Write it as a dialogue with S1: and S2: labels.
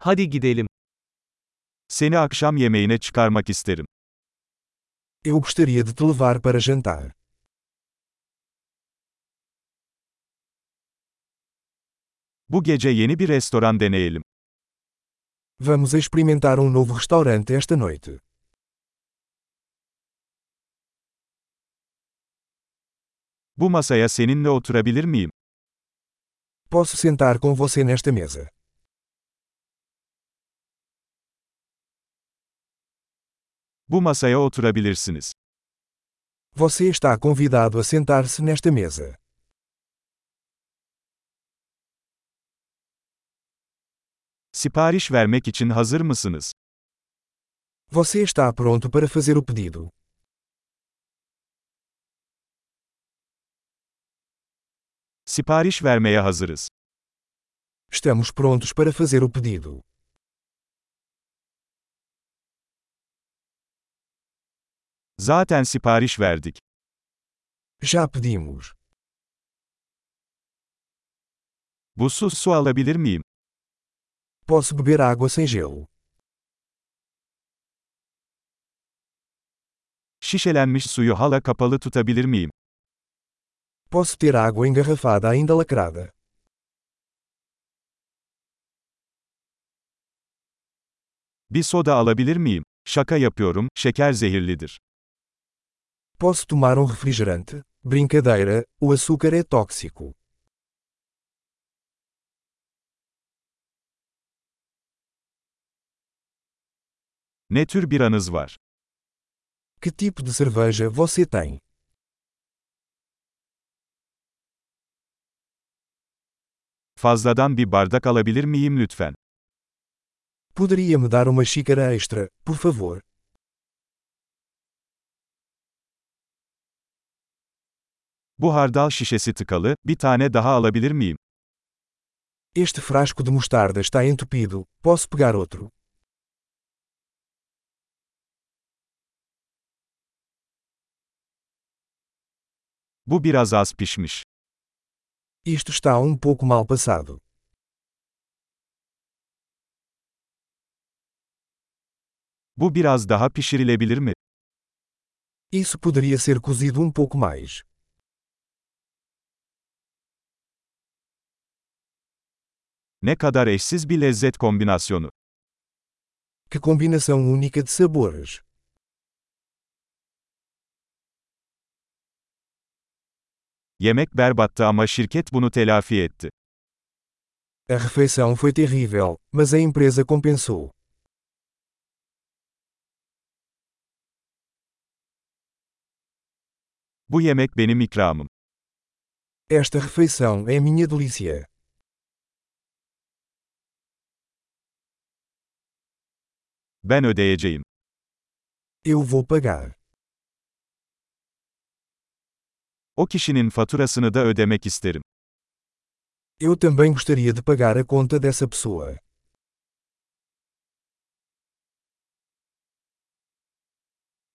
S1: Hadi gidelim.
S2: Seni akşam yemeğine çıkarmak isterim.
S3: Eu gostaria de te levar para jantar.
S2: Bu gece yeni bir restoran deneyelim.
S3: Vamos experimentar um novo restaurante esta noite.
S2: Bu masaya seninle oturabilir miyim?
S3: Posso sentar com você nesta mesa.
S2: Bu masaya oturabilirsiniz.
S3: Você está convidado a sentar-se nesta mesa.
S2: Sipariş vermek için hazır mısınız?
S3: Você está pronto para fazer o pedido.
S2: Sipariş vermeye hazırız.
S3: Estamos prontos para fazer o pedido.
S2: Zaten sipariş verdik.
S3: Já pedimos.
S2: Buzsuz su alabilir miyim?
S3: Posso beber água sem gelo.
S2: Şişelenmiş suyu hala kapalı tutabilir miyim?
S3: Posso ter água engarrafada ainda lacrada.
S2: Bir soda alabilir miyim? Şaka yapıyorum, şeker zehirlidir.
S3: Posso tomar um refrigerante? Brincadeira, o açúcar é tóxico.
S2: Ne tür bir anız var?
S3: Que tipo de cerveja você tem?
S2: Fazladan bir bardak alabilir miyim lütfen?
S3: Poderia me dar uma xícara extra, por favor?
S2: Bu hardal şişesi tıkalı, bir tane daha alabilir miyim?
S3: Este frasco de mostarda está entupido, posso pegar outro?
S2: Bu biraz az pişmiş.
S3: Isto está um pouco mal passado.
S2: Bu biraz daha pişirilebilir mi?
S3: Isso poderia ser cozido um pouco mais.
S2: Ne kadar eşsiz bir lezzet kombinasyonu.
S3: Que combinação única de sabores!
S2: Yemek berbattı ama şirket bunu telafi etti.
S3: A refeição foi terrível, mas a empresa compensou.
S2: Bu yemek benim ikramım.
S3: Esta refeição é minha delícia.
S2: Ben ödeyeceğim.
S3: Eu vou pagar.
S2: O kişinin faturasını da ödemek isterim.
S3: Eu também gostaria de pagar a conta dessa pessoa.